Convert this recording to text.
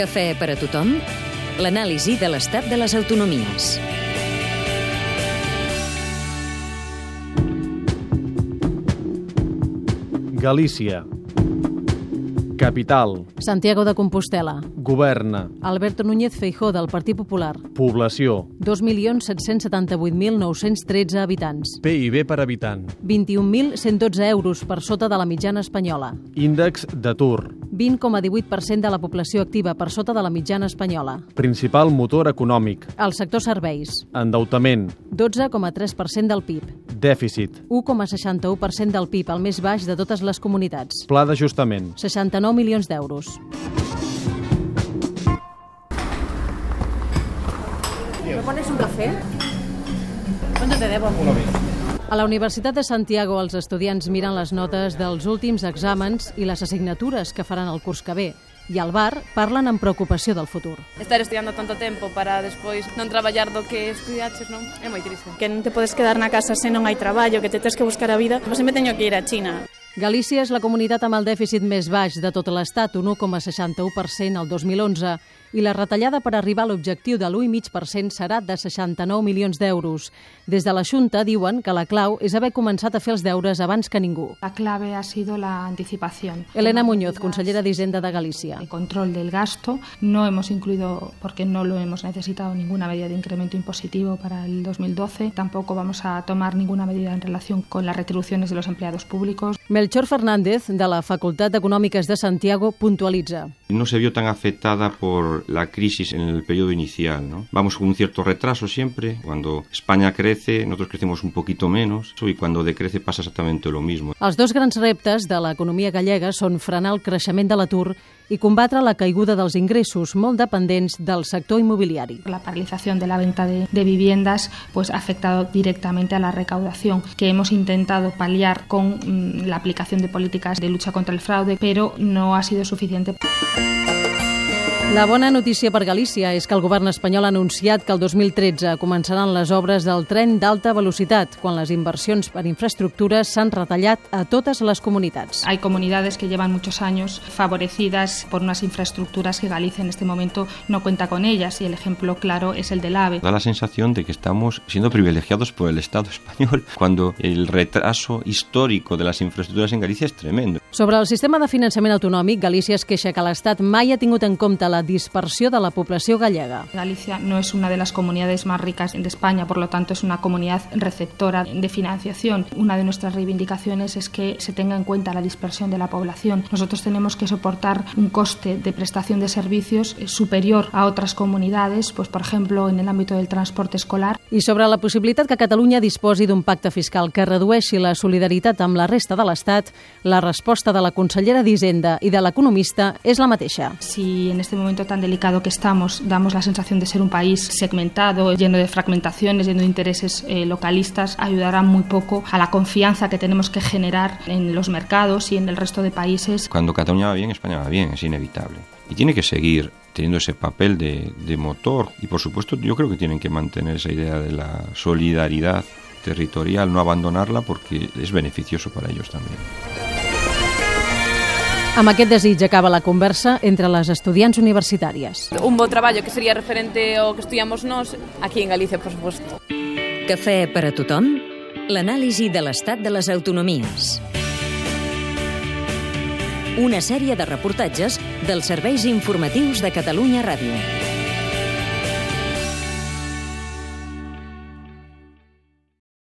Cafè per a tothom, l'anàlisi de l'estat de les autonomies. Galícia. Capital. Santiago de Compostela. Governa. Alberto Núñez Feijó, del Partit Popular. Població. 2.778.913 habitants. PIB per habitant. 21.112 euros per sota de la mitjana espanyola. Índex d'atur. 20,18% de la població activa per sota de la mitjana espanyola. Principal motor econòmic. El sector serveis, Endeutament. 12,3% del PIB. Dèficit. 1,61% del PIB, el més baix de totes les comunitats. Pla d'ajustament. 69 milions d'euros. ¿Me pones un café? ¿Cuánto te debo? A la Universitat de Santiago els estudiants miren les notes dels últims exàmens i les assignatures que faran el curs que ve i al bar parlen amb preocupació del futur. estar estudiando tanto tempo para despois non traballar do que estudiaches, non? É moi triste. que non te podes quedar na casa se non hai traballo, que te tes que buscar a vida, pois sempre teño que ir a China. Galícia és la comunitat amb el dèficit més baix de tot l'estat, un 1,61% al 2011, i la retallada per arribar a l'objectiu de l'1,5% serà de 69 milions d'euros. Des de la Junta diuen que la clau és haver començat a fer els deures abans que ningú. La clave ha sido la anticipación. Elena Muñoz, consellera d'Hisenda de Galícia. El control del gasto. No hemos incluido, porque no lo hemos necesitado, ninguna medida de incremento impositivo para el 2012. Tampoco vamos a tomar ninguna medida en relación con las retribuciones de los empleados públicos. Melchor Fernández, de la Facultat d'Econòmiques de Santiago, puntualitza. no se vio tan afectada por la crisis en el periodo inicial. ¿no? Vamos con un cierto retraso siempre. Cuando España crece, nosotros crecemos un poquito menos y cuando decrece pasa exactamente lo mismo. Els dos grans reptes de l'economia gallega són frenar el creixement de l'atur i combatre la caiguda dels ingressos, molt dependents del sector immobiliari. La paralización de la venta de, de viviendas pues, ha afectado directamente a la recaudación, que hemos intentado paliar con mm, la aplicación de políticas de lucha contra el fraude, pero no ha sido suficiente. La bona notícia per Galícia és que el govern espanyol ha anunciat que el 2013 començaran les obres del tren d'alta velocitat, quan les inversions per infraestructures s'han retallat a totes les comunitats. Hay comunidades que llevan muchos años favorecidas por unas infraestructuras que Galicia en este momento no cuenta con ellas y el ejemplo claro es el del AVE. Da la sensación de que estamos siendo privilegiados por el Estado español cuando el retraso histórico de las infraestructuras en Galicia es tremendo. Sobre el sistema de finançament autonòmic, Galícia es queixa que l'Estat mai ha tingut en compte la dispersió de la població gallega. Galicia no es una de las comunidades más ricas de España, por lo tanto es una comunidad receptora de financiación. Una de nuestras reivindicaciones es que se tenga en cuenta la dispersión de la población. Nosotros tenemos que soportar un coste de prestación de servicios eh, superior a otras comunidades, pues por ejemplo en el ámbito del transporte escolar. I sobre la possibilitat que Catalunya disposi d'un pacte fiscal que redueixi la solidaritat amb la resta de l'Estat, la resposta de la consellera d'Hisenda i de l'economista és la mateixa. Si en este momento tan delicado que estamos damos la sensación de ser un país segmentado, lleno de fragmentaciones, lleno de intereses eh, localistas, ayudará muy poco a la confianza que tenemos que generar en los mercados y en el resto de países. Cuando Cataluña va bien, España va bien, es inevitable. Y tiene que seguir teniendo ese papel de, de motor. Y por supuesto yo creo que tienen que mantener esa idea de la solidaridad territorial, no abandonarla porque es beneficioso para ellos también. Amb aquest desig acaba la conversa entre les estudiants universitàries. Un bo traballo que sería referente ao que estudiamos nós aquí en Galicia, por suposto. Cafè per a tothom, l'anàlisi de l'estat de les autonomies. Una sèrie de reportatges dels serveis informatius de Catalunya Ràdio.